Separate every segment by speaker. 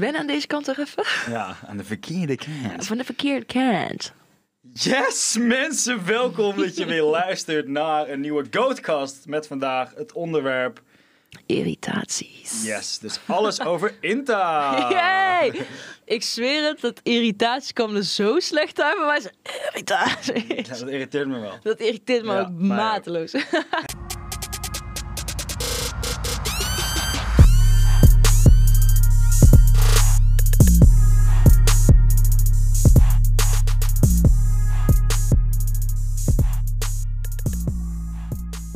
Speaker 1: Ben aan deze kant toch even?
Speaker 2: Ja, aan de verkeerde kant.
Speaker 1: Van de verkeerde kant.
Speaker 2: Yes, mensen, welkom dat je weer luistert naar een nieuwe Goatcast met vandaag het onderwerp.
Speaker 1: Irritaties.
Speaker 2: Yes, dus alles over Inta.
Speaker 1: Yay! Ik zweer het, dat irritatie kwam er zo slecht uit bij mij. Ze- Irritaties.
Speaker 2: Ja, dat irriteert me wel.
Speaker 1: Dat irriteert me
Speaker 2: Ja,
Speaker 1: ook
Speaker 2: mij ook.
Speaker 1: mateloos.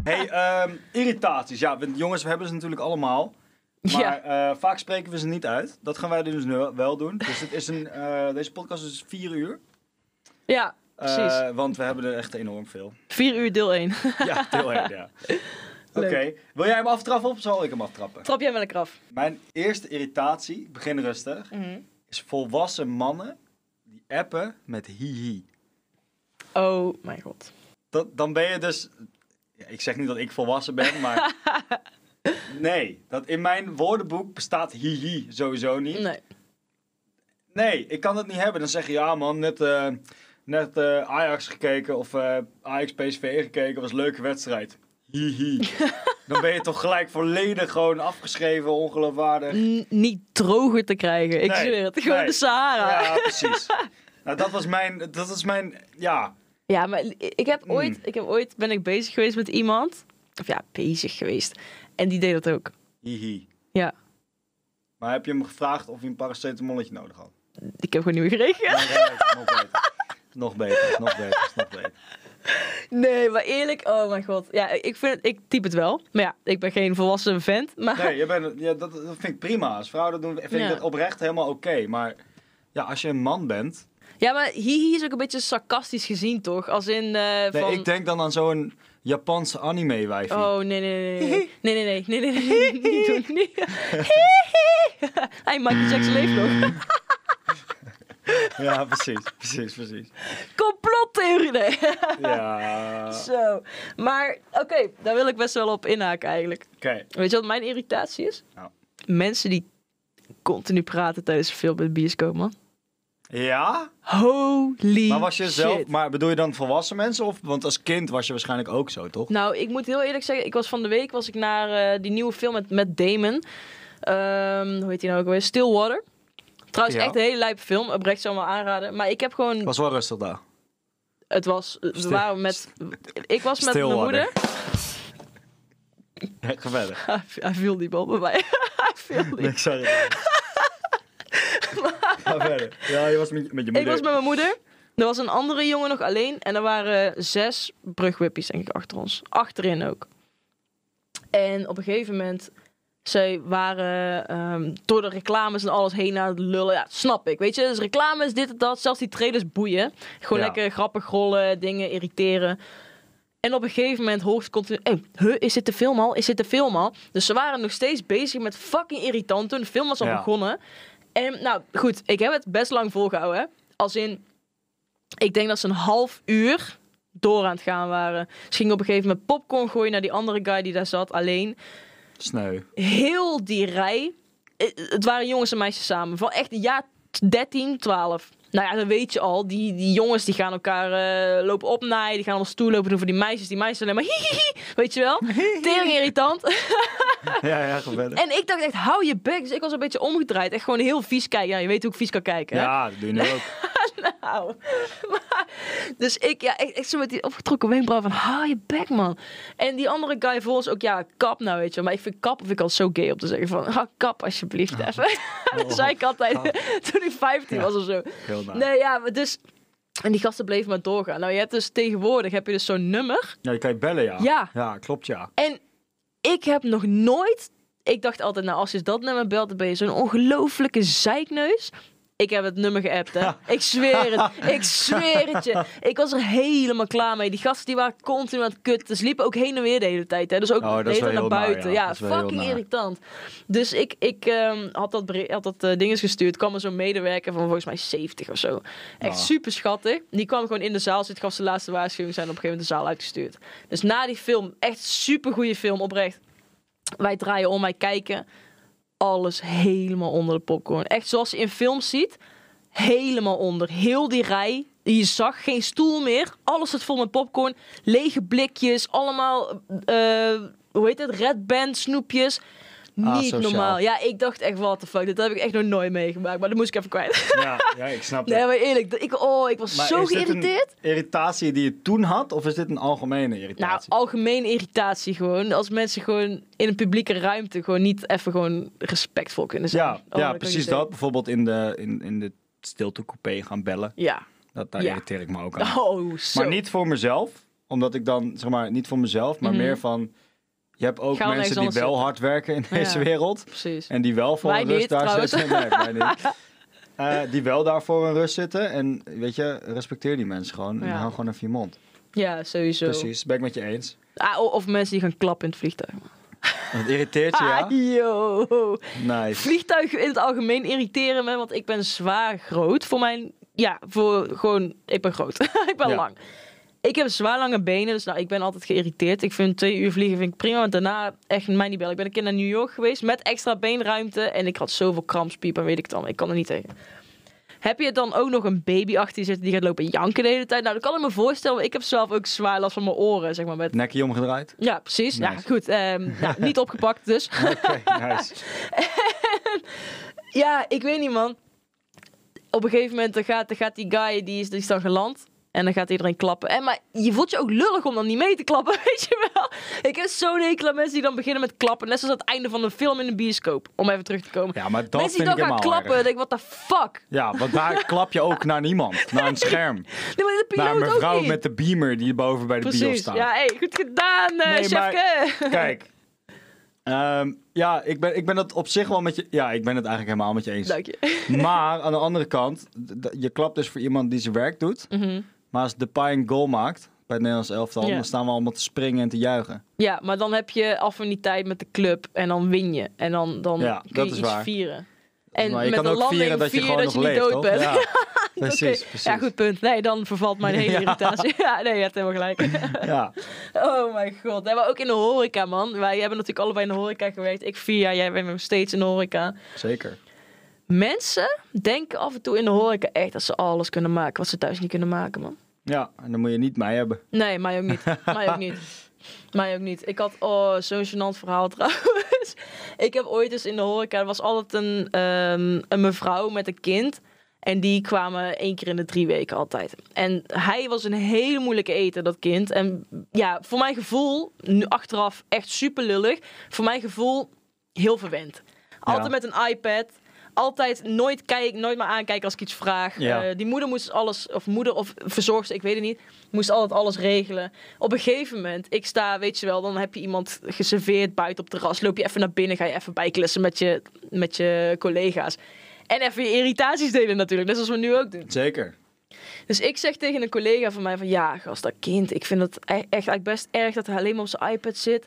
Speaker 2: Hey, ehm, irritaties. Ja, we- jongens, we hebben ze natuurlijk allemaal. Maar
Speaker 1: Ja,
Speaker 2: eh, vaak spreken we ze niet uit. Dat gaan wij dus nu wel doen. Dus dit is een, eh, deze podcast is vier uur.
Speaker 1: ja
Speaker 2: Eh,
Speaker 1: precies.
Speaker 2: want we hebben er echt enorm veel.
Speaker 1: 4 uur deel 1.
Speaker 2: Ja, heel erg, ja. Oké,
Speaker 1: Leuk.
Speaker 2: wil jij hem aftrappen of zal ik hem aftrappen?
Speaker 1: Trap jij maar lekker af.
Speaker 2: Mijn eerste irritatie, begin rustig, is volwassen mannen die appen met hihi.
Speaker 1: Oh mijn god.
Speaker 2: Dat, dan ben je dus... Ja, ik zeg niet dat ik volwassen ben, maar... Nee, dat in mijn woordenboek bestaat hihi sowieso niet.
Speaker 1: Nee.
Speaker 2: Nee, ik kan het niet hebben. Dan zeg je, ja man, net, eh, net eh, Ajax gekeken of eh Ajax PSV gekeken. was een leuke wedstrijd. Hihi. Dan ben je toch gelijk volledig gewoon afgeschreven, ongeloofwaardig.
Speaker 1: N- niet droger te krijgen. Ik
Speaker 2: Nee,
Speaker 1: zweer het. Gewoon
Speaker 2: nee.
Speaker 1: de Sahara.
Speaker 2: Ja, precies. Nou, dat was mijn, dat was mijn, ja.
Speaker 1: Ja, maar ik heb
Speaker 2: Mm.
Speaker 1: ooit, ik heb ooit ben ik bezig geweest met iemand. Of ja, bezig geweest. En die deed dat ook.
Speaker 2: Hihi.
Speaker 1: Ja,
Speaker 2: Maar heb je hem gevraagd of hij een paracetamolletje nodig had?
Speaker 1: ik heb gewoon niet meer gereageerd.
Speaker 2: Nee, nee, nee, nog beter. Nog beter, nog beter, nog beter.
Speaker 1: Nee, maar eerlijk, oh mijn god. Ja, ik vind het, ik typ het wel. Maar ja, ik ben geen volwassen vent. Maar
Speaker 2: Nee, je bent, ja, dat, dat vind ik prima. Als vrouw dat doen, vind
Speaker 1: Ja.
Speaker 2: ik dat oprecht helemaal oké. Maar ja, als je een man bent,
Speaker 1: ja, maar hihi is ook een beetje sarcastisch gezien, toch? Als in eh,
Speaker 2: Nee,
Speaker 1: van...
Speaker 2: ik denk dan aan zo'n Japanse anime-wijfie.
Speaker 1: Oh, nee, nee, nee, nee. Nee, nee, nee, nee, nee, nee, nee, niet doen, niet. Hey, Michael Jackson leeft nog.
Speaker 2: Ja, precies, precies, precies.
Speaker 1: Complottheorie, nee.
Speaker 2: Ja. Oké,
Speaker 1: Zo. Maar, oké, daar wil ik best wel op inhaken eigenlijk. Weet je wat mijn irritatie is?
Speaker 2: Nou.
Speaker 1: Mensen die continu praten tijdens een film in de bioscoop, man.
Speaker 2: ja?
Speaker 1: Holy
Speaker 2: Maar was je
Speaker 1: shit.
Speaker 2: zelf, maar bedoel je dan volwassen mensen? Of, want als kind was je waarschijnlijk ook zo, toch?
Speaker 1: Nou, ik moet heel eerlijk zeggen, ik was van de week was ik naar eh, die nieuwe film met, met Damon. Ehm, hoe heet die nou ook weer? Stillwater. Trouwens,
Speaker 2: Ja.
Speaker 1: echt een hele lijpe film. Oprecht zou ik hem wel aanraden. Maar ik heb gewoon...
Speaker 2: Was wel rustig daar.
Speaker 1: Het was... We
Speaker 2: Stil-
Speaker 1: waren met... Ik was met mijn
Speaker 2: Stillwater.
Speaker 1: moeder.
Speaker 2: Ja, ga verder.
Speaker 1: Hij viel die bal bij mij. Hij viel die.
Speaker 2: Nee, sorry. Ga verder. Ja, je was met, met je
Speaker 1: Ik
Speaker 2: moeder.
Speaker 1: was met mijn moeder. Er was een andere jongen nog alleen. En er waren zes brugwippies, denk ik, achter ons. Achterin ook. En op een gegeven moment... Zij waren ehm, door de reclames en alles heen aan het lullen. Ja, snap ik. Weet je, dus reclames, dit en dat. Zelfs die trailers boeien. Gewoon
Speaker 2: Ja.
Speaker 1: lekker grappig rollen, dingen irriteren. En op een gegeven moment hoort ze continu... Hey, huh, is dit de film al? Is dit de film al? Dus ze waren nog steeds bezig met fucking irritant toen. De film was al
Speaker 2: Ja.
Speaker 1: begonnen. En nou, goed. Ik heb het best lang volgehouden. Hè? Als in... Ik denk dat ze een half uur door aan het gaan waren. Ze gingen op een gegeven moment popcorn gooien naar die andere guy die daar zat, alleen.
Speaker 2: Sneu.
Speaker 1: Heel die rij. eh, Het waren jongens en meisjes samen. Van echt een jaar 13, 12. Nou ja, dan weet je al. Die, die jongens die gaan elkaar eh, lopen opnaaien. Die gaan allemaal stoel lopen doen voor die meisjes. Die meisjes alleen maar hihihi. Weet je wel? Tering irritant.
Speaker 2: Ja, ja, ga verder.
Speaker 1: En ik dacht echt, hou je bek. Dus ik was een beetje omgedraaid. Echt gewoon heel vies kijken. Ja, je weet hoe ik vies kan kijken. hè?
Speaker 2: Ja, dat doe je nu ook.
Speaker 1: Nou, maar- dus ik, ja, echt, echt zo met die opgetrokken wenkbrauw van, hou je bek, man. En die andere guy voor ons ook, ja, kap nou, weet je wel. Maar ik vind kap, vind ik al zo gay om te zeggen van, ah, kap alsjeblieft even. dat zei ik altijd toen ik 15 was of zo.
Speaker 2: Heel naar.
Speaker 1: Nee, ja, maar dus... En die gasten bleven maar doorgaan. Nou, je hebt dus tegenwoordig, heb je dus zo'n nummer.
Speaker 2: Ja, je kan je bellen, ja.
Speaker 1: Ja.
Speaker 2: Ja, klopt, ja.
Speaker 1: En ik heb nog nooit. Ik dacht altijd, nou, als je dat nummer belt, dan ben je zo'n ongelofelijke zeikneus. Ik heb het nummer geappt, hè. Ik zweer het. Ik zweer het je. Ik was er helemaal klaar mee. Die gasten die waren continu aan het kutten. Ze liepen ook heen en weer de hele tijd, hè. Dus ook
Speaker 2: Oh, dat
Speaker 1: de
Speaker 2: is
Speaker 1: hele tijd
Speaker 2: wel
Speaker 1: naar
Speaker 2: heel naar,
Speaker 1: buiten.
Speaker 2: ja.
Speaker 1: ja,
Speaker 2: Dat is wel heel
Speaker 1: fucking
Speaker 2: naar.
Speaker 1: irritant. Dus ik, ik ehm, had dat, beri- had dat eh, dinges gestuurd. Kwam er zo'n medewerker van volgens mij 70 of zo. Echt
Speaker 2: Ah.
Speaker 1: super schattig. Die kwam gewoon in de zaal zitten, gaf ze de laatste waarschuwing. Zijn op een gegeven moment de zaal uitgestuurd. Dus na die film, echt super goede film oprecht. Wij draaien om, wij kijken. alles helemaal onder de popcorn. Echt zoals je in films ziet, helemaal onder. Heel die rij. Je zag geen stoel meer. Alles zat vol met popcorn. Lege blikjes. Allemaal, eh, hoe heet het? Red Band snoepjes.
Speaker 3: Ah,
Speaker 1: Niet
Speaker 3: sociaal.
Speaker 1: normaal. Ja, ik dacht echt, what the fuck. Dit heb ik echt nog nooit meegemaakt. Maar dat moest ik even kwijt.
Speaker 2: Ja, ja ik snap
Speaker 1: Nee,
Speaker 2: het.
Speaker 1: maar eerlijk. dat- Ik, oh, ik was
Speaker 2: Maar
Speaker 1: zo
Speaker 2: is dit een
Speaker 1: geïrriteerd.
Speaker 2: irritatie die je toen had, of is dit een algemene
Speaker 1: Nou,
Speaker 2: irritatie?
Speaker 1: algemeen irritatie gewoon. Als mensen gewoon in een publieke ruimte gewoon niet even gewoon respectvol kunnen zijn.
Speaker 2: ja,
Speaker 1: Oh, dat kan
Speaker 2: ja
Speaker 1: ik
Speaker 2: precies
Speaker 1: niet zeggen.
Speaker 2: dat. Bijvoorbeeld in de, in, in de stiltecoupé gaan bellen.
Speaker 1: Ja.
Speaker 2: Dat, daar
Speaker 1: Ja.
Speaker 2: irriteer ik me ook aan.
Speaker 1: Oh, zo.
Speaker 2: Maar niet voor mezelf, omdat ik dan, zeg maar, niet voor mezelf, maar
Speaker 1: Mhm.
Speaker 2: meer van... Je hebt ook
Speaker 1: Ga wel
Speaker 2: mensen die
Speaker 1: ergens
Speaker 2: wel
Speaker 1: anders
Speaker 2: hard werken in deze
Speaker 1: Ja.
Speaker 2: wereld.
Speaker 1: Precies.
Speaker 2: En die wel voor
Speaker 1: Wij
Speaker 2: een rust
Speaker 1: niet,
Speaker 2: daar
Speaker 1: trouwens.
Speaker 2: zitten. Nee, wij niet. Eh, die wel daar voor een rust zitten. En weet je, respecteer die mensen gewoon. En
Speaker 1: Ja.
Speaker 2: hou gewoon even je mond.
Speaker 1: Ja, sowieso.
Speaker 2: Precies, ben ik met je eens.
Speaker 1: Ah, o- of mensen die gaan klappen in het vliegtuig.
Speaker 2: Dat irriteert je, ja?
Speaker 1: Ah, yo.
Speaker 2: Nice.
Speaker 1: Vliegtuigen in het algemeen irriteren me, want ik ben zwaar groot. Voor mijn, ja, voor gewoon, ik ben groot. ik ben
Speaker 2: Ja.
Speaker 1: lang. Ik heb zwaar lange benen, dus nou, ik ben altijd geïrriteerd. Ik vind twee uur vliegen vind ik prima, want daarna echt mij niet bellen. Ik ben een keer naar New York geweest met extra beenruimte en ik had zoveel krampspiep en weet ik dan. Ik kan er niet tegen. Heb je dan ook nog een baby achter je zitten die gaat lopen janken de hele tijd? Nou, dat kan ik me voorstellen, want ik heb zelf ook zwaar last van mijn oren, zeg maar. Met...
Speaker 2: Nekkie omgedraaid.
Speaker 1: Ja, precies. Ja,
Speaker 2: Nice.
Speaker 1: goed. ehm, ja, niet opgepakt dus.
Speaker 2: Oké, nice.
Speaker 1: Ja, ik weet niet, man. Op een gegeven moment dan gaat, dan gaat die guy, die is, die is dan geland. En dan gaat iedereen klappen. En, maar je voelt je ook lullig om dan niet mee te klappen, weet je wel? Ik heb zo'n hekel aan mensen die dan beginnen met klappen. Net zoals aan het einde van een film in een bioscoop. Om even terug te komen.
Speaker 2: Ja, maar dat
Speaker 1: mensen die
Speaker 2: vind ik
Speaker 1: dan gaan
Speaker 2: helemaal
Speaker 1: klappen.
Speaker 2: erg.
Speaker 1: denk ik, what the fuck?
Speaker 2: Ja, want daar klap je ook naar niemand. Naar een scherm.
Speaker 1: Nee, maar de piloot
Speaker 2: Naar een mevrouw
Speaker 1: ook niet.
Speaker 2: met de beamer die boven bij de bio
Speaker 1: Precies.
Speaker 2: staat.
Speaker 1: Ja, hey, goed gedaan, eh
Speaker 2: Nee,
Speaker 1: chefke.
Speaker 2: Kijk. Ehm, ja, ik ben, ik ben dat op zich wel met je... Ja, ik ben het eigenlijk helemaal met je eens.
Speaker 1: Dank je.
Speaker 2: Maar aan de andere kant, d- d- je klapt dus voor iemand die zijn werk doet.
Speaker 1: Mhm.
Speaker 2: Maar als Depay een goal maakt bij het Nederlands elftal,
Speaker 1: Ja.
Speaker 2: dan staan we allemaal te springen en te juichen.
Speaker 1: Ja, maar dan heb je affiniteit met de club en dan win je. En dan, dan
Speaker 2: Ja,
Speaker 1: kun
Speaker 2: dat
Speaker 1: je
Speaker 2: is
Speaker 1: iets
Speaker 2: waar.
Speaker 1: vieren. En
Speaker 2: maar je
Speaker 1: met
Speaker 2: kan
Speaker 1: een
Speaker 2: ook
Speaker 1: landing
Speaker 2: vieren dat je gewoon
Speaker 1: dat
Speaker 2: nog
Speaker 1: je niet
Speaker 2: leeft,
Speaker 1: dood
Speaker 2: toch?
Speaker 1: bent.
Speaker 2: Ja, precies,
Speaker 1: Oké.
Speaker 2: precies.
Speaker 1: Ja, goed punt. Nee, dan vervalt mijn hele irritatie. Ja, nee, je hebt helemaal gelijk.
Speaker 2: Ja,
Speaker 1: Oh mijn god. Nee, maar ook in de horeca, man. Wij hebben natuurlijk allebei in de horeca gewerkt. Ik vier jaar, jij bent nog steeds in de horeca.
Speaker 2: zeker.
Speaker 1: Mensen denken af en toe in de horeca echt dat ze alles kunnen maken wat ze thuis niet kunnen maken, man.
Speaker 2: Ja, en dan moet je niet mij hebben.
Speaker 1: Nee, mij ook niet. mij ook niet. Mij ook niet. Ik had oh, zo'n gênant verhaal trouwens. Ik heb ooit eens in de horeca, er was altijd een, ehm, een mevrouw met een kind. En die kwamen één keer in de drie weken altijd. En hij was een hele moeilijke eter, dat kind. En ja, voor mijn gevoel, nu achteraf echt super lullig. Voor mijn gevoel, heel verwend. Altijd met een iPad. Altijd nooit, kijk, nooit maar aankijken als ik iets vraag.
Speaker 2: Ja.
Speaker 1: Eh, die moeder moest alles, of moeder of verzorgster, ik weet het niet, moest altijd alles regelen. Op een gegeven moment, ik sta, weet je wel, dan heb je iemand geserveerd buiten op het terras. Loop je even naar binnen, ga je even bijklussen met je, met je collega's. En even je irritaties delen natuurlijk, net zoals we nu ook doen.
Speaker 2: Zeker.
Speaker 1: Dus ik zeg tegen een collega van mij van ja, gast, dat kind, ik vind het e- echt eigenlijk best erg dat hij alleen maar op zijn iPad zit.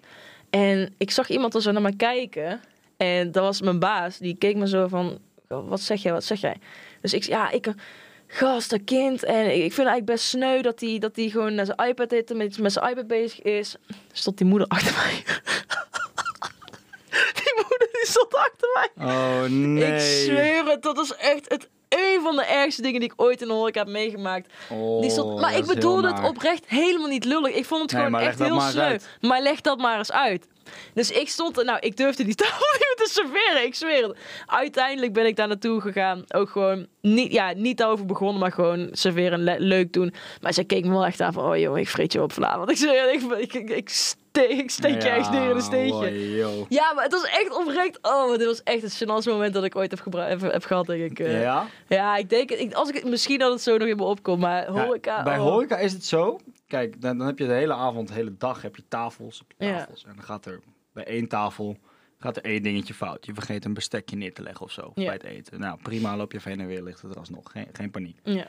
Speaker 1: En ik zag iemand al zo naar mij kijken. En dat was mijn baas, die keek me zo van, wat zeg jij, wat zeg jij? Dus ik, ja, ik, eh, gast, dat kind. En ik ik vind het eigenlijk best sneu dat hij dat die gewoon naar zijn iPad zit, en met, met zijn iPad bezig is. Stond die moeder achter mij. die moeder die stond achter mij.
Speaker 2: Oh nee.
Speaker 1: Ik zweer het, dat is echt het een van de ergste dingen die ik ooit in de horeca heb meegemaakt.
Speaker 2: Oh,
Speaker 1: Die stond, maar
Speaker 2: dat
Speaker 1: ik
Speaker 2: is heel
Speaker 1: bedoelde het
Speaker 2: naar.
Speaker 1: oprecht helemaal niet lullig. Ik vond het
Speaker 2: Nee,
Speaker 1: gewoon
Speaker 2: maar leg
Speaker 1: echt
Speaker 2: dat
Speaker 1: heel
Speaker 2: maar eens
Speaker 1: sneu.
Speaker 2: uit.
Speaker 1: Maar leg dat maar eens uit. Dus ik stond er, nou, ik durfde die tafel niet meer te serveren, ik zweer het. Uiteindelijk ben ik daar naartoe gegaan. Ook gewoon, niet, ja, niet daarover begonnen, maar gewoon serveren, le- leuk doen. Maar zij keek me wel echt aan van, oh joh, ik vreet je op vanavond. Ik zweer het, ik, ik, ik, ik steek, ik steek je echt neer in een steentje.
Speaker 2: hoi, joh.
Speaker 1: Ja, maar het was echt oprecht. Oh, maar dit was echt het gênantste moment dat ik ooit heb, gebru- heb, heb gehad, denk ik. eh.
Speaker 2: Ja?
Speaker 1: Ja, ik denk, het- ik, als ik, het- misschien dat het zo nog in me opkomt, maar horeca...
Speaker 2: Ja, bij
Speaker 1: oh.
Speaker 2: horeca is het zo. Kijk, dan, dan heb je de hele avond, de hele dag heb je tafels op je
Speaker 1: Ja.
Speaker 2: tafels. En dan gaat er bij één tafel gaat er één dingetje fout. Je vergeet een bestekje neer te leggen of zo
Speaker 1: Ja.
Speaker 2: bij het eten. Nou, prima, loop je even heen en weer, ligt het er alsnog. Geen, geen paniek.
Speaker 1: Ja,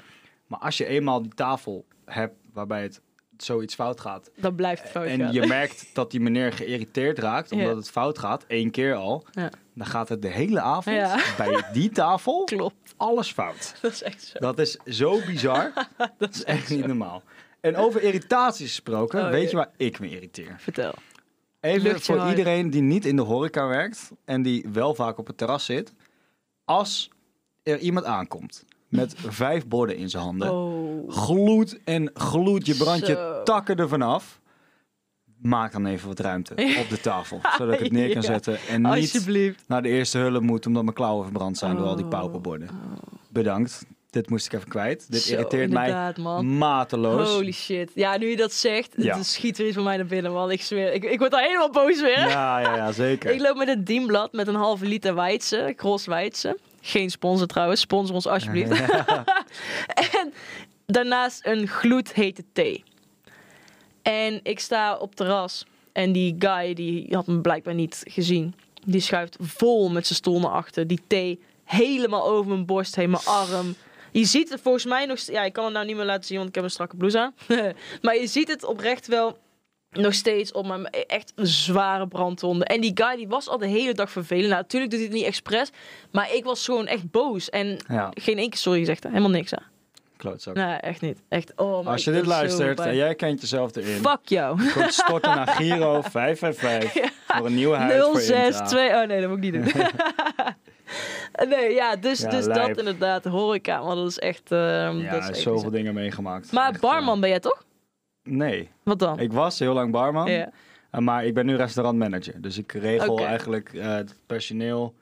Speaker 2: Maar als je eenmaal die tafel hebt waarbij het zoiets fout gaat...
Speaker 1: dan blijft het fout
Speaker 2: en
Speaker 1: gaan.
Speaker 2: je merkt dat die meneer geïrriteerd raakt
Speaker 1: Ja.
Speaker 2: omdat het fout gaat, één keer al...
Speaker 1: Ja.
Speaker 2: dan gaat het de hele avond
Speaker 1: Ja.
Speaker 2: bij die tafel
Speaker 1: Klopt,
Speaker 2: alles fout.
Speaker 1: dat is echt zo.
Speaker 2: Dat is zo bizar. dat is echt niet normaal. En over irritaties gesproken,
Speaker 1: Oh,
Speaker 2: weet
Speaker 1: jee.
Speaker 2: je waar ik me irriteer?
Speaker 1: Vertel.
Speaker 2: Even
Speaker 1: Lucht je
Speaker 2: voor
Speaker 1: hype.
Speaker 2: iedereen die niet in de horeca werkt en die wel vaak op het terras zit. Als er iemand aankomt met vijf borden in zijn handen,
Speaker 1: Oh.
Speaker 2: gloed en gloed, je brandt je
Speaker 1: Zo.
Speaker 2: takken ervan af. Maak dan even wat ruimte op de tafel, zodat ik het neer kan
Speaker 1: Ja.
Speaker 2: zetten en niet
Speaker 1: Alsjeblieft.
Speaker 2: naar de eerste hulp moet omdat mijn klauwen verbrand zijn door al die pauperborden.
Speaker 1: Oh.
Speaker 2: Bedankt, dit moest ik even kwijt. Dit
Speaker 1: Zo,
Speaker 2: irriteert mij
Speaker 1: inderdaad, man.
Speaker 2: mateloos.
Speaker 1: Holy shit. Ja, nu je dat zegt,
Speaker 2: Ja.
Speaker 1: het schiet weer iets van mij naar binnen, man. Ik zweer. Ik, ik word daar helemaal boos weer.
Speaker 2: ja, ja, ja, zeker.
Speaker 1: Ik loop met een dienblad met een halve liter Weidse, Gros Weidse. Geen sponsor trouwens, sponsor ons alsjeblieft. en daarnaast een gloedhete thee. En ik sta op terras en die guy die had me blijkbaar niet gezien. Die schuift vol met zijn stoel naar achter. Die thee helemaal over mijn borst heen, mijn arm. Je ziet het volgens mij nog... st- Ja, ik kan het nou niet meer laten zien, want ik heb een strakke blouse aan. maar je ziet het oprecht wel nog steeds op mijn echt zware brandwonden. En die guy die was al de hele dag vervelend. Nou, natuurlijk doet hij het niet expres, maar ik was gewoon echt boos. En
Speaker 2: Ja,
Speaker 1: geen één keer sorry gezegd, hè. helemaal niks. Hè?
Speaker 2: klootzak.
Speaker 1: Nee, echt niet. Echt. Oh, maar
Speaker 2: Als
Speaker 1: ik
Speaker 2: je dit
Speaker 1: ben zo
Speaker 2: luistert eh,
Speaker 1: blij.
Speaker 2: en jij kent jezelf erin,
Speaker 1: Fuck jou.
Speaker 2: komt storten naar Giro 555 voor een nieuwe huid voor Intra.
Speaker 1: 062. Oh nee, dat moet ik niet doen. nee, ja, dus,
Speaker 2: Ja,
Speaker 1: dus
Speaker 2: lijp.
Speaker 1: dat inderdaad. Horeca, want dat is echt... ehm,
Speaker 2: Ja,
Speaker 1: dat is echt
Speaker 2: zoveel
Speaker 1: bizar.
Speaker 2: dingen meegemaakt.
Speaker 1: Maar
Speaker 2: Echt,
Speaker 1: barman ben jij toch?
Speaker 2: eh, nee,
Speaker 1: Wat dan?
Speaker 2: ik was heel lang barman,
Speaker 1: Ja.
Speaker 2: eh, maar ik ben nu restaurantmanager. Dus ik regel
Speaker 1: Oké.
Speaker 2: eigenlijk eh, het personeel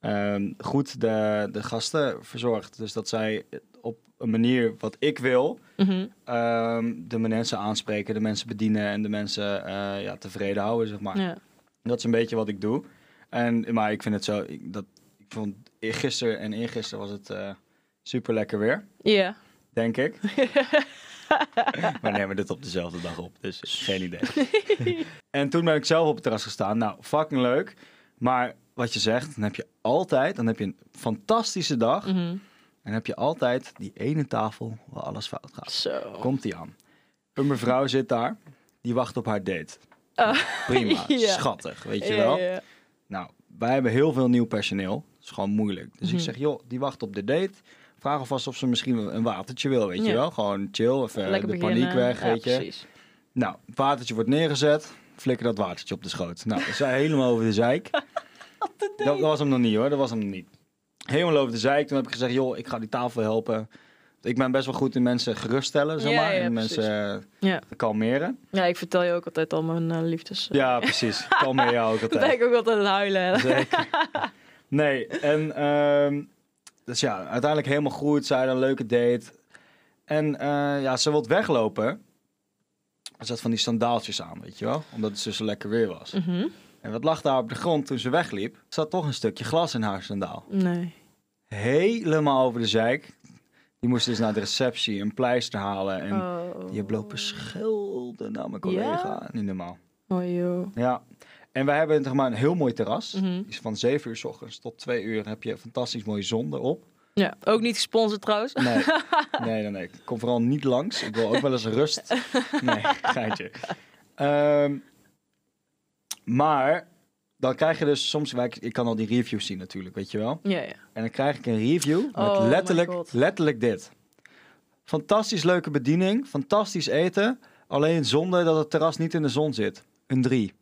Speaker 2: ehm, goed de, de gasten verzorgt. Dus dat zij op een manier wat ik wil,
Speaker 1: Mhm.
Speaker 2: ehm, de mensen aanspreken, de mensen bedienen en de mensen eh, ja, tevreden houden, zeg maar.
Speaker 1: ja.
Speaker 2: Dat is een beetje wat ik doe. En, maar ik vind het zo. Ik, dat, ik vond gisteren en eergisteren was het super lekker weer.
Speaker 1: Ja.
Speaker 2: Denk ik. maar nemen dit op dezelfde dag op. Dus geen idee. en toen ben ik zelf op het terras gestaan. Nou, fucking leuk. Maar wat je zegt, dan heb je altijd. Dan heb je een fantastische dag.
Speaker 1: Mhm.
Speaker 2: En heb je altijd die ene tafel waar alles fout gaat.
Speaker 1: Zo.
Speaker 2: Komt die aan. Een mevrouw zit daar. Die wacht op haar date.
Speaker 1: Ah,
Speaker 2: Prima.
Speaker 1: Ja.
Speaker 2: Schattig. Weet je
Speaker 1: ja,
Speaker 2: wel.
Speaker 1: ja.
Speaker 2: Nou, wij hebben heel veel nieuw personeel. Dat is gewoon moeilijk. Dus ik
Speaker 1: Mhm.
Speaker 2: zeg, joh, die wacht op de date. Vraag alvast of ze misschien wel een watertje wil, weet je
Speaker 1: Ja.
Speaker 2: wel. Gewoon chill, even
Speaker 1: Lekker
Speaker 2: de
Speaker 1: beginnen.
Speaker 2: paniek weg,
Speaker 1: Ja,
Speaker 2: weet je.
Speaker 1: precies.
Speaker 2: Nou, watertje wordt neergezet. Flikker dat watertje op de schoot. Nou, zij helemaal over de zeik. dat, dat was hem nog niet hoor, dat was hem nog niet. Helemaal over de zeik. Toen heb ik gezegd, joh, ik ga die tafel helpen. Ik ben best wel goed in mensen geruststellen, zeg
Speaker 1: Ja,
Speaker 2: maar.
Speaker 1: ja,
Speaker 2: en
Speaker 1: precies.
Speaker 2: mensen
Speaker 1: Ja.
Speaker 2: te kalmeren.
Speaker 1: Ja, ik vertel je ook altijd al mijn eh, liefdes. eh.
Speaker 2: Ja, precies. Kalmeer jou ook
Speaker 1: Dan ben
Speaker 2: altijd.
Speaker 1: ik ook altijd aan het huilen. hè.
Speaker 2: Zeker. Nee, en ehm, dus ja, uiteindelijk helemaal goed. Zij had een leuke date. En eh, ja, ze wilde weglopen. Ze zat van die sandaaltjes aan, weet je wel? Omdat het dus zo lekker weer was.
Speaker 1: Mhm.
Speaker 2: En wat lag daar op de grond toen ze wegliep? Er zat toch een stukje glas in haar sandaal.
Speaker 1: Nee.
Speaker 2: Helemaal over de zeik. Die moest dus naar de receptie een pleister halen. En
Speaker 1: Oh.
Speaker 2: die heb lopen schelden naar mijn collega. Niet normaal.
Speaker 1: Oh, joh.
Speaker 2: Ja. En wij hebben zeg maar, een heel mooi terras.
Speaker 1: Mhm.
Speaker 2: is van 7 uur s ochtends tot 2 uur heb je fantastisch mooie zon erop.
Speaker 1: Ja, ook niet gesponsord trouwens.
Speaker 2: Nee, nee, nee, nee. Ik kom vooral niet langs. Ik wil ook wel eens rust. Nee, geintje. Ehm, maar dan krijg je dus soms... wij- Ik kan al die reviews zien natuurlijk, weet je wel.
Speaker 1: Ja, ja.
Speaker 2: En dan krijg ik een review met
Speaker 1: Oh my
Speaker 2: letterlijk,
Speaker 1: God.
Speaker 2: letterlijk dit. Fantastisch leuke bediening, fantastisch eten. Alleen zonde dat het terras niet in de zon zit. Een 3.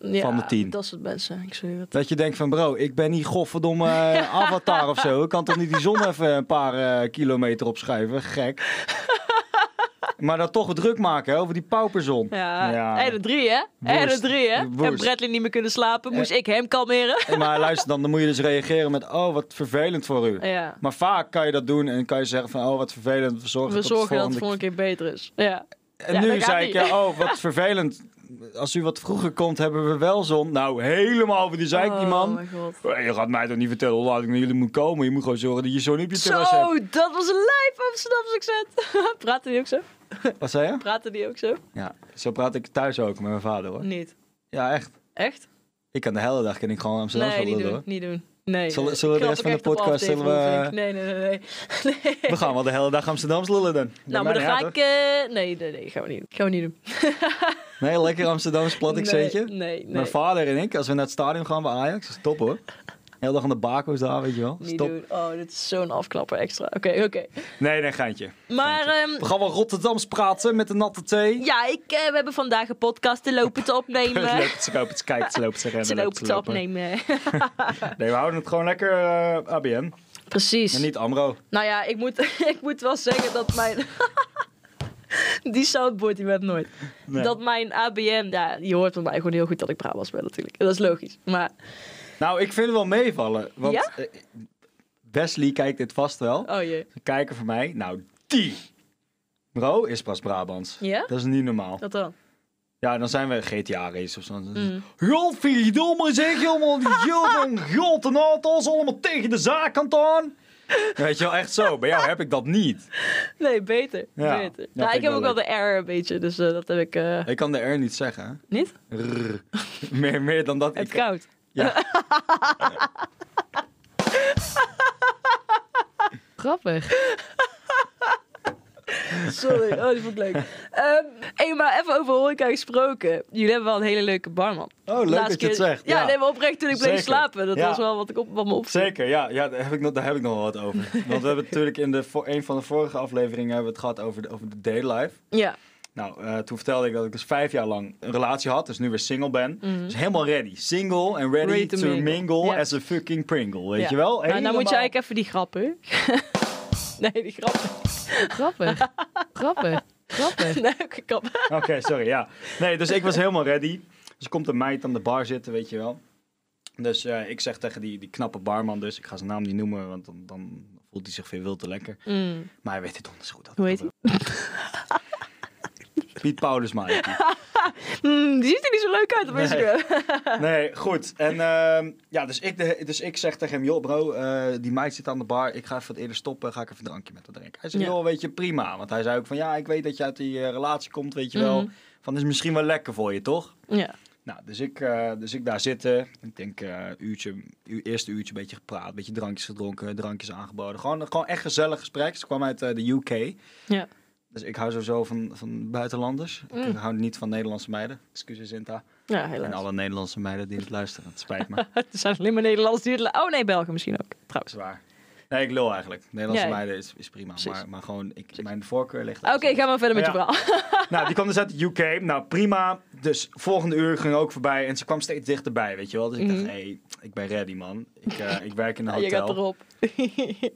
Speaker 1: ja
Speaker 2: Van de tien.
Speaker 1: Dat soort mensen, ik zweer het.
Speaker 2: Dat je denkt van bro, ik ben niet godverdomme eh, avatar of zo. Ik kan toch niet die zon even een paar eh, kilometer opschuiven? Gek. Maar dan toch druk maken hè, over die pauperzon.
Speaker 1: Ja,
Speaker 2: Ja.
Speaker 1: en de drie hè? En de
Speaker 2: Woest.
Speaker 1: drie hè? En
Speaker 2: Woest.
Speaker 1: Bradley niet meer kunnen slapen, moest ik hem kalmeren.
Speaker 2: En Maar luister dan, dan moet je dus reageren met oh wat vervelend voor u.
Speaker 1: Ja,
Speaker 2: Maar vaak kan je dat doen en kan je zeggen van oh wat vervelend, we zorgen,
Speaker 1: we
Speaker 2: tot de
Speaker 1: zorgen dat het
Speaker 2: volgende
Speaker 1: volgende keer beter is. Ja,
Speaker 2: En
Speaker 1: Ja,
Speaker 2: nu
Speaker 1: dat gaat
Speaker 2: zei ik,
Speaker 1: niet.
Speaker 2: ja, oh, wat vervelend. Als u wat vroeger komt, hebben we wel zon. Nou, helemaal over die zeik, die
Speaker 1: Oh
Speaker 2: man.
Speaker 1: mijn god.
Speaker 2: Hey, Je gaat mij toch niet vertellen hoe laat ik naar jullie moet komen. Je moet gewoon zorgen dat je zo'n op je terras
Speaker 1: Zo,
Speaker 2: hebt.
Speaker 1: dat was een lijf Amsterdamse accent. Praten die ook zo?
Speaker 2: Wat zei je?
Speaker 1: Praten die ook zo?
Speaker 2: Ja, zo praat ik thuis ook met mijn vader, hoor.
Speaker 1: Niet.
Speaker 2: Ja, echt.
Speaker 1: Echt?
Speaker 2: Ik kan de hele dag ken ik gewoon Amsterdam
Speaker 1: Nee, niet
Speaker 2: lullen,
Speaker 1: doen.
Speaker 2: hoor.
Speaker 1: Niet doen. Nee.
Speaker 2: Zullen-
Speaker 1: nee.
Speaker 2: zullen we de
Speaker 1: Ik
Speaker 2: rest van de
Speaker 1: knap ook echt op
Speaker 2: podcast,
Speaker 1: af tegen
Speaker 2: zullen we-
Speaker 1: Roelvink. Nee, nee, nee. nee. nee.
Speaker 2: We gaan wel de hele dag Amsterdams lullen dan.
Speaker 1: Nou, maar dan
Speaker 2: Bij mij
Speaker 1: ga
Speaker 2: niet,
Speaker 1: ik... eh, nee, nee, nee, gaan we niet doen. Gaan we niet doen.
Speaker 2: hoor. Nee, lekker Amsterdams plat
Speaker 1: nee,
Speaker 2: accentje.
Speaker 1: Nee, nee.
Speaker 2: Mijn vader en ik, als we naar het stadion gaan bij Ajax, is top, hoor. Heel dag aan de bako's daar, weet je wel.
Speaker 1: Niet
Speaker 2: Stop.
Speaker 1: doen. Oh, dit is zo'n afklapper extra. Oké, oké.
Speaker 2: Nee, nee, geintje.
Speaker 1: Maar ehm,
Speaker 2: We gaan wel Rotterdams praten met de natte thee.
Speaker 1: ja, ik, eh, we hebben vandaag een podcast te lopen te
Speaker 2: Ze
Speaker 1: opnemen.
Speaker 2: lopen te kopen, te kijken, ze lopen te rennen.
Speaker 1: Te lopen te opnemen.
Speaker 2: Nee, we houden het gewoon lekker eh, ABN. En
Speaker 1: Precies.
Speaker 2: niet AMRO.
Speaker 1: Nou ja, ik moet, ik moet wel zeggen dat mijn... die soundboard, die werd nooit.
Speaker 2: Nee.
Speaker 1: Dat mijn ABN... Ja, je hoort van mij gewoon heel goed dat ik Brabants ben natuurlijk. Dat is logisch. Maar
Speaker 2: Nou, ik vind het wel meevallen. Want
Speaker 1: Ja?
Speaker 2: eh, Wesley kijkt dit vast wel.
Speaker 1: Oh jee,
Speaker 2: Een kijker van mij. Nou, die bro is pas Brabants.
Speaker 1: Ja?
Speaker 2: Dat is niet normaal.
Speaker 1: dat dan.
Speaker 2: Ja, dan zijn we GTA-race of zo.
Speaker 1: Mm.
Speaker 2: Godverdomme zeg, jongen. Die Gilden, Gildenatels, allemaal tegen de zaak aan het aan. Weet je wel, echt zo. Bij jou heb ik dat niet.
Speaker 1: Nee, beter.
Speaker 2: Ja, dat
Speaker 1: beter.
Speaker 2: vind
Speaker 1: Nou,
Speaker 2: ik
Speaker 1: ik heb
Speaker 2: wel
Speaker 1: ook wel de error een beetje, dus eh, dat heb ik eh,
Speaker 2: Ik kan de R niet zeggen. hè.
Speaker 1: niet.
Speaker 2: Rrr. meer, meer dan dat.
Speaker 1: Het
Speaker 2: Ik,
Speaker 1: koud.
Speaker 3: Grappig.
Speaker 1: Sorry, oh, die vond ik leuk. Ehm hey, maar even over horeca gesproken. Jullie hebben wel een hele leuke barman.
Speaker 2: oh, leuk
Speaker 1: Laatste
Speaker 2: dat je het
Speaker 1: keer-
Speaker 2: zegt.
Speaker 1: Ja,
Speaker 2: Ja.
Speaker 1: nee, maar oprecht toen ik bleef
Speaker 2: Zeker.
Speaker 1: slapen. Dat
Speaker 2: Ja.
Speaker 1: was wel wat, ik op, wat me opviel.
Speaker 2: Zeker, ja, ja daar, heb ik nog, daar heb ik nog wel wat over. Want we hebben natuurlijk in de, vo- een van de vorige afleveringen hebben we het gehad over de, over de daylife.
Speaker 1: Ja.
Speaker 2: Nou, eh, toen vertelde ik dat ik dus vijf jaar lang een relatie had, dus nu weer single ben.
Speaker 1: Mhm.
Speaker 2: Dus helemaal ready. Single en ready,
Speaker 1: Ready
Speaker 2: to,
Speaker 1: to
Speaker 2: mingle,
Speaker 1: mingle. Ja.
Speaker 2: as a fucking Pringle, weet
Speaker 1: Ja.
Speaker 2: je
Speaker 1: Nou,
Speaker 2: wel?
Speaker 1: dan moet je
Speaker 2: Helemaal-
Speaker 1: eigenlijk even die grap, hè? nee, die grap.
Speaker 3: Grappig. Grappig. Grappig.
Speaker 1: Nee, ook een grap.
Speaker 2: Oké, sorry, ja. Nee, dus ik was helemaal ready. Dus komt een meid aan de bar zitten, weet je wel. Dus eh, ik zeg tegen die, die knappe barman dus, ik ga zijn naam niet noemen, want dan, dan voelt hij zich veel wil te lekker.
Speaker 1: Mm.
Speaker 2: Maar hij weet het donders goed. dat-
Speaker 1: Hoe heet hij?
Speaker 2: Piet Paulusma. heet hij.
Speaker 1: Mm, die ziet er niet zo leuk uit op
Speaker 2: Nee.
Speaker 1: Instagram.
Speaker 2: Nee, goed. En ehm, ja, dus ik, de- dus ik zeg tegen hem, joh bro, eh, die meid zit aan de bar. Ik ga even wat eerder stoppen. Ga ik even een drankje met haar drinken. Hij zei,
Speaker 1: Ja.
Speaker 2: joh, weet je, prima. Want hij zei ook van, ja, ik weet dat je uit die eh, relatie komt, weet je wel.
Speaker 1: Mhm.
Speaker 2: Van, is misschien wel lekker voor je, toch?
Speaker 1: Ja.
Speaker 2: Nou, dus ik, eh, dus ik daar zitten. Ik denk, eh uurtje, uur, eerste uurtje een beetje gepraat. Een beetje drankjes gedronken, drankjes aangeboden. Gewoon, gewoon echt gezellig gesprek. Ze kwam uit eh, de UK.
Speaker 1: Ja.
Speaker 2: Dus ik hou sowieso van, van buitenlanders. Ik
Speaker 1: Mm.
Speaker 2: hou niet van Nederlandse meiden. Excuses, Inta.
Speaker 1: Ja,
Speaker 2: En
Speaker 1: helaas.
Speaker 2: alle Nederlandse meiden die het luisteren. Het spijt me.
Speaker 1: Er zijn alleen maar Nederlanders die het... la- Oh nee, Belgen misschien ook, trouwens.
Speaker 2: Zwaar. Nee, ik lul eigenlijk. Nederlandse
Speaker 1: Ja, ja.
Speaker 2: meiden is, is prima.
Speaker 1: Precies.
Speaker 2: Maar, maar gewoon, ik, mijn voorkeur ligt...
Speaker 1: Oké, ga maar verder met
Speaker 2: Ja.
Speaker 1: je verhaal.
Speaker 2: Nou, die kwam dus uit de UK. Nou, prima. Dus volgende uur ging ook voorbij. En ze kwam steeds dichterbij, weet je wel. Dus ik
Speaker 1: Mhm.
Speaker 2: dacht, hé, hey, ik ben ready, man. Ik, eh, ik werk in een
Speaker 1: Je gaat
Speaker 2: hotel.
Speaker 1: erop.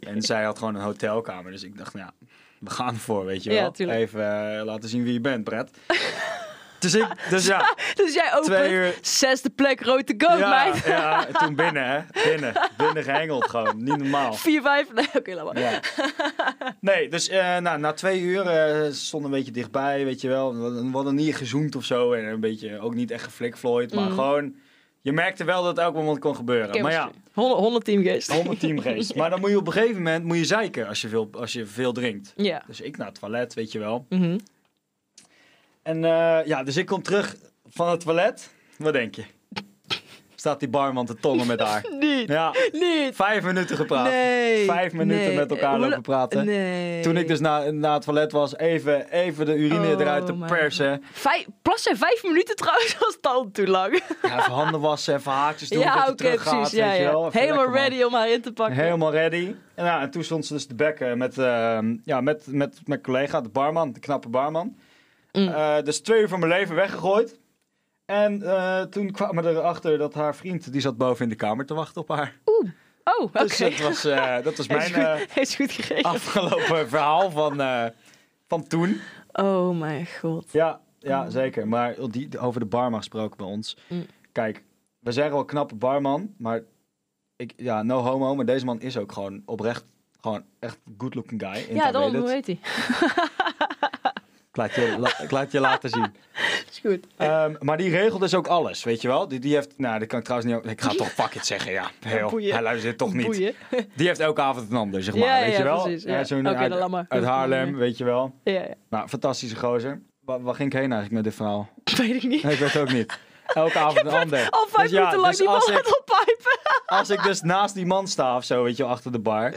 Speaker 2: En zij had gewoon een hotelkamer. Dus ik dacht, nou, ja, we gaan ervoor, weet je
Speaker 1: Ja,
Speaker 2: wel.
Speaker 1: tuurlijk.
Speaker 2: Even eh, laten zien wie je bent, Brett. dus ik... Dus ja,
Speaker 1: dus jij
Speaker 2: twee
Speaker 1: opent,
Speaker 2: uur...
Speaker 1: zesde plek, rood to go,
Speaker 2: ja,
Speaker 1: meid.
Speaker 2: ja, toen binnen, hè. Binnen. Binnen gehengeld gewoon. Niet normaal.
Speaker 1: 4-5, nee, oké, laat maar.
Speaker 2: Ja. Nee, dus eh, nou, na twee uur eh, ze stonden een beetje dichtbij, weet je wel. We hadden- we hadden niet gezoend of zo. En een beetje, ook niet echt geflikvlooid. Maar
Speaker 1: Mhm.
Speaker 2: gewoon, je merkte wel dat het elk moment kon gebeuren. Maar ja,
Speaker 1: Chemistry. 100, 100 teamgeest.
Speaker 2: 100 teamgeest. Maar dan moet je op een gegeven moment moet je zeiken als je veel, als je veel drinkt.
Speaker 1: Ja.
Speaker 2: Dus ik naar het toilet, weet je wel.
Speaker 1: Mhm.
Speaker 2: En eh, ja, dus ik kom terug van het toilet. Wat denk je? Staat die barman te tongen met haar.
Speaker 1: Niet,
Speaker 2: Ja,
Speaker 1: niet.
Speaker 2: vijf minuten gepraat.
Speaker 1: Nee.
Speaker 2: Vijf minuten
Speaker 1: nee.
Speaker 2: met
Speaker 1: Eh,
Speaker 2: elkaar
Speaker 1: hoe
Speaker 2: lopen
Speaker 1: la-
Speaker 2: praten.
Speaker 1: Nee.
Speaker 2: Toen ik dus na, na het toilet was, even, even de urine
Speaker 1: Oh
Speaker 2: eruit te
Speaker 1: my
Speaker 2: persen.
Speaker 1: Vijf, plas zijn vijf minuten trouwens, was dan te lang.
Speaker 2: Ja, even handen wassen, even haakjes doen.
Speaker 1: ja,
Speaker 2: dat
Speaker 1: oké,
Speaker 2: je dus terug gaat,
Speaker 1: precies.
Speaker 2: weet
Speaker 1: Ja,
Speaker 2: je
Speaker 1: ja.
Speaker 2: wel. Even
Speaker 1: Helemaal
Speaker 2: lekker, man.
Speaker 1: ready om haar in te pakken.
Speaker 2: Helemaal ready. En, ja, en toen stond ze dus te bekken met, ehm, ja, met, met mijn collega, de barman, de knappe barman.
Speaker 1: Mm.
Speaker 2: Eh, dus twee uur van mijn leven weggegooid. En eh, toen kwamen we erachter dat haar vriend, die zat boven in de kamer te wachten op haar.
Speaker 1: Oh, oké.
Speaker 2: Dus dat was, eh, dat was
Speaker 1: Hij
Speaker 2: mijn
Speaker 1: is, goed,
Speaker 2: eh,
Speaker 1: hij is goed geregeld.
Speaker 2: afgelopen verhaal van, eh, van toen.
Speaker 1: Oh mijn god.
Speaker 2: Ja, ja zeker. Maar die, die- over de barman gesproken bij ons.
Speaker 1: Mm.
Speaker 2: Kijk, we zeggen wel knappe barman, maar ik, ja, no homo, maar deze man is ook gewoon oprecht, gewoon echt good looking guy.
Speaker 1: ja,
Speaker 2: Inter
Speaker 1: dan,
Speaker 2: weet het.
Speaker 1: hoe heet hij?
Speaker 2: Ik laat je, la- ik laat je laten zien.
Speaker 1: Is goed.
Speaker 2: Ehm, maar die regelt dus ook alles, weet je wel? Die, die heeft, nou, dat kan ik trouwens niet, ik ga toch fuck it zeggen, ja. Heel,
Speaker 1: boeien.
Speaker 2: hij luistert toch niet.
Speaker 1: Boeien.
Speaker 2: Die heeft elke avond een ander, zeg maar,
Speaker 1: Ja,
Speaker 2: weet
Speaker 1: ja,
Speaker 2: je wel?
Speaker 1: precies, ja.
Speaker 2: zo'n
Speaker 1: Oké,
Speaker 2: uit,
Speaker 1: dan laat maar.
Speaker 2: uit Haarlem, weet je wel.
Speaker 1: Ja, ja.
Speaker 2: Nou, fantastische gozer. Waar, waar ging ik heen eigenlijk met dit verhaal?
Speaker 1: Weet ik niet.
Speaker 2: Nee, ik weet het ook niet. Elke avond een ander.
Speaker 1: Al vijf
Speaker 2: Dus ja,
Speaker 1: minuten lang
Speaker 2: dus
Speaker 1: die man
Speaker 2: als
Speaker 1: aan
Speaker 2: ik,
Speaker 1: het oppijpen.
Speaker 2: als ik dus naast die man sta of zo, weet je, wel, achter de bar,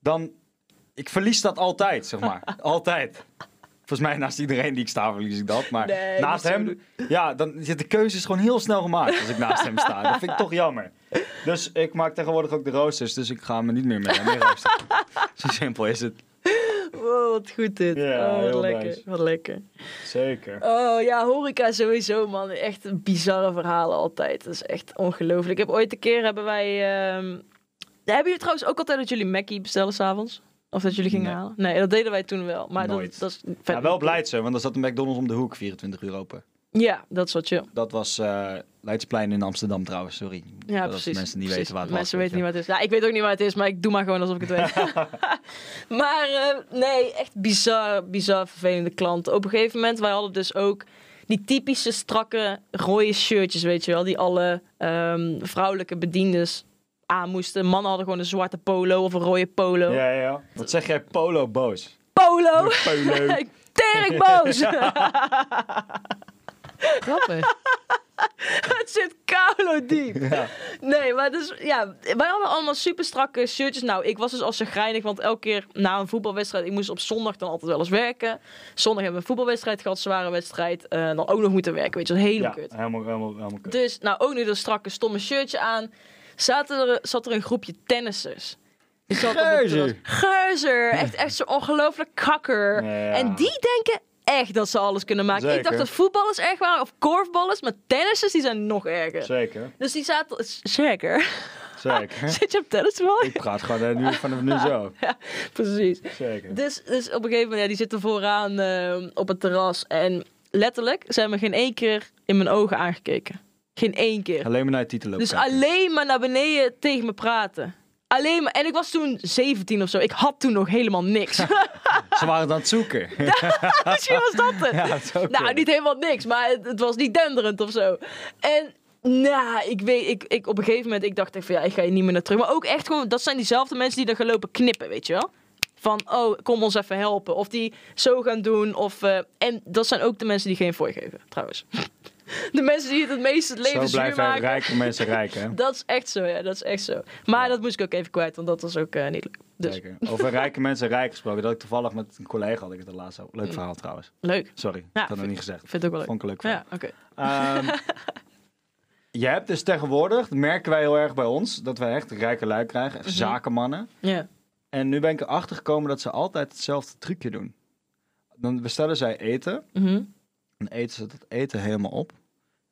Speaker 2: dan. Ik verlies dat altijd, zeg maar. Altijd. Volgens mij naast iedereen die ik sta, verlies ik dat. Maar
Speaker 1: Nee,
Speaker 2: naast
Speaker 1: niet zo
Speaker 2: hem. Ja, dan, de keuze is gewoon heel snel gemaakt als ik naast hem sta. Dat vind ik toch jammer. Dus ik maak tegenwoordig ook de roosters, dus ik ga me niet meer mee, mee roosteren. Zo simpel is het.
Speaker 1: Wow, Oh, wat goed dit.
Speaker 2: Ja,
Speaker 1: oh, wat
Speaker 2: heel
Speaker 1: lekker.
Speaker 2: nice.
Speaker 1: Wat lekker.
Speaker 2: Zeker.
Speaker 1: Oh ja, horeca sowieso, man. Echt bizarre verhalen altijd. Dat is echt ongelooflijk. Ik heb ooit een keer hebben wij. ehm, Hebben jullie trouwens ook altijd dat jullie Mackie bestellen s'avonds? Of dat jullie gingen
Speaker 2: Nee.
Speaker 1: halen? Nee, dat deden wij toen wel. Maar dat,
Speaker 2: Nooit.
Speaker 1: dat is vet.
Speaker 2: Ja, wel Blijdse, want dan zat de McDonald's om de hoek 24 uur open.
Speaker 1: Ja, dat is wat chill.
Speaker 2: Dat was eh Leidsplein in Amsterdam trouwens, sorry.
Speaker 1: Ja,
Speaker 2: dat
Speaker 1: precies.
Speaker 2: mensen niet
Speaker 1: precies.
Speaker 2: weten waar het
Speaker 1: Mensen
Speaker 2: was.
Speaker 1: weten niet waar het is. Ja, ik weet ook niet waar het is, maar ik doe maar gewoon alsof ik het weet. maar eh, nee, echt bizar, bizar vervelende klanten. Op een gegeven moment, wij hadden dus ook die typische strakke rode shirtjes, weet je wel. Die alle ehm, vrouwelijke bediendes aan moesten. Mannen hadden gewoon een zwarte polo of een rode polo.
Speaker 2: Ja, ja, ja. Wat zeg jij, polo boos?
Speaker 1: Polo!
Speaker 2: Polo.
Speaker 1: Tering boos!
Speaker 3: grappig.
Speaker 1: het zit koulo diep.
Speaker 2: Ja.
Speaker 1: Nee, maar dus, ja, wij hadden allemaal super strakke shirtjes. Nou, ik was dus al chagrijnig, want elke keer na een voetbalwedstrijd, ik moest op zondag dan altijd wel eens werken. Zondag hebben we een voetbalwedstrijd gehad, zware wedstrijd, eh, dan ook nog moeten werken, weet je, wel, helemaal
Speaker 2: Ja,
Speaker 1: kut.
Speaker 2: helemaal, helemaal, helemaal kut.
Speaker 1: Dus, nou, ook nu dat strakke, stomme shirtje aan, zaten er, zat er een groepje tennissers. Die zat op het
Speaker 2: Geuzer.
Speaker 1: terras. Geuzer! Echt, echt zo ongelooflijk kakker.
Speaker 2: Ja.
Speaker 1: En die denken echt dat ze alles kunnen maken. Ik dacht
Speaker 2: Zeker.
Speaker 1: dat voetballers erg waren of korfballers, maar tennissers die zijn nog erger.
Speaker 2: Zeker,
Speaker 1: Dus die zaten... Zeker.
Speaker 2: zeker.
Speaker 1: Zit je op tennis wel?
Speaker 2: ik praat gewoon eh, nu vanaf nu zo.
Speaker 1: Precies.
Speaker 2: Zeker.
Speaker 1: Dus, dus op een gegeven moment, ja, die zitten vooraan eh, op het terras. En letterlijk, ze hebben me geen één keer in mijn ogen aangekeken. Geen één keer.
Speaker 2: Alleen maar naar het titel
Speaker 1: Dus alleen maar naar beneden tegen me praten. Alleen maar, en ik was toen 17 of zo. Ik had toen nog helemaal niks.
Speaker 2: Ze waren het aan het zoeken.
Speaker 1: Misschien was dat het.
Speaker 2: Ja, het zou
Speaker 1: Nou,
Speaker 2: kunnen.
Speaker 1: niet helemaal niks, maar het, het was niet denderend of zo. En nou, ik weet, ik, ik, op een gegeven moment, ik dacht echt van ja, ik ga hier niet meer naar terug. Maar ook echt gewoon, dat zijn diezelfde mensen die er gaan lopen knippen, weet je wel? Van, oh, kom ons even helpen. Of die zo gaan doen. Of, eh, en dat zijn ook de mensen die geen fooi geven, trouwens. De mensen die het het meest het leven
Speaker 2: Zo
Speaker 1: zuur
Speaker 2: blijven
Speaker 1: maken.
Speaker 2: rijke mensen rijk, hè?
Speaker 1: Dat is echt zo, ja, dat is echt zo. Maar dat moest ik ook even kwijt, want dat was ook eh, niet leuk. Dus,
Speaker 2: Zeker. Over rijke mensen rijk gesproken. Dat ik toevallig met een collega had ik het er laatst over. Leuk verhaal trouwens.
Speaker 1: leuk.
Speaker 2: Sorry,
Speaker 1: Ja,
Speaker 2: dat had ik
Speaker 1: vind-
Speaker 2: niet gezegd.
Speaker 1: Vind ik ook wel leuk.
Speaker 2: Vond ik een leuk verhaal.
Speaker 1: Ja, oké.
Speaker 2: Ehm, je hebt dus tegenwoordig, dat merken wij heel erg bij ons, dat wij echt rijke lui krijgen.
Speaker 1: Mhm.
Speaker 2: echt Zakenmannen.
Speaker 1: Ja.
Speaker 2: En nu ben ik erachter gekomen dat ze altijd hetzelfde trucje doen. Dan bestellen zij eten.
Speaker 1: Mhm.
Speaker 2: Dan eten ze dat eten helemaal op.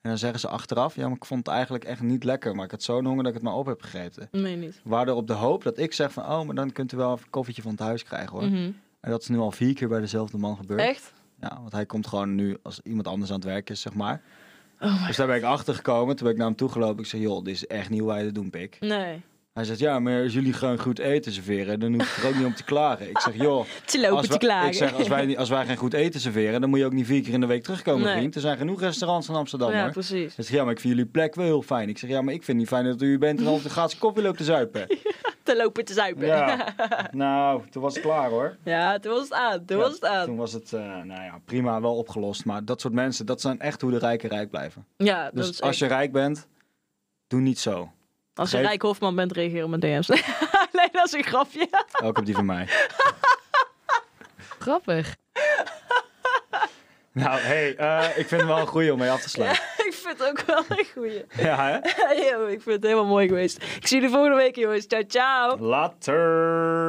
Speaker 2: En dan zeggen ze achteraf, ja, maar ik vond het eigenlijk echt niet lekker. Maar ik had zo'n honger dat ik het maar op heb gegeten.
Speaker 1: Nee, niet.
Speaker 2: Waardoor op de hoop dat ik zeg van, oh, maar dan kunt u wel even een koffietje van het huis krijgen hoor.
Speaker 1: Mhm.
Speaker 2: En dat is nu al vier keer bij dezelfde man gebeurd.
Speaker 1: Echt?
Speaker 2: Ja, want hij komt gewoon nu als iemand anders aan het werk is, zeg maar.
Speaker 1: Oh my
Speaker 2: dus daar ben ik achter gekomen. Toen ben ik naar hem toe gelopen. Ik zei, joh, dit is echt niet hoe wij dat doen, pik.
Speaker 1: Nee.
Speaker 2: Hij zegt, ja, maar als jullie gewoon goed eten serveren, dan hoef ik er ook niet om te klagen. Ik zeg, joh,
Speaker 1: Te lopen
Speaker 2: als
Speaker 1: te
Speaker 2: wij,
Speaker 1: klagen.
Speaker 2: ik zeg, als, wij, niet- als wij geen goed eten serveren, dan moet je ook niet vier keer in de week terugkomen,
Speaker 1: Nee.
Speaker 2: vriend. Er zijn genoeg restaurants in Amsterdam,
Speaker 1: ja,
Speaker 2: hoor.
Speaker 1: precies.
Speaker 2: Hij zegt, ja, maar ik vind jullie plek wel heel fijn. Ik zeg, ja, maar ik vind het niet fijn dat u hier bent en altijd een gratis koffie loopt te zuipen.
Speaker 1: Te lopen te zuipen. Ja,
Speaker 2: Ja, nou, toen was het klaar, hoor.
Speaker 1: toen was het aan. Toen
Speaker 2: Ja,
Speaker 1: was het aan.
Speaker 2: Toen was het, eh, nou ja, prima, wel opgelost. Maar dat soort mensen, dat zijn echt hoe de rijken rijk blijven.
Speaker 1: Ja, dat
Speaker 2: Dus
Speaker 1: is
Speaker 2: als
Speaker 1: als,
Speaker 2: je rijk bent, doe niet zo.
Speaker 1: als je
Speaker 2: geeft-
Speaker 1: Rijk Hofman bent, reageer op mijn DM's. nee, dat is een grapje.
Speaker 2: Ook op die van mij.
Speaker 3: Grappig.
Speaker 2: Nou, hey, eh, ik vind hem wel een goeie om mee af te sluiten.
Speaker 1: ik vind het ook wel een goeie.
Speaker 2: Ja, hè?
Speaker 1: Yo, ik vind het helemaal mooi geweest. Ik zie jullie volgende week, jongens. Ciao, ciao.
Speaker 2: Later.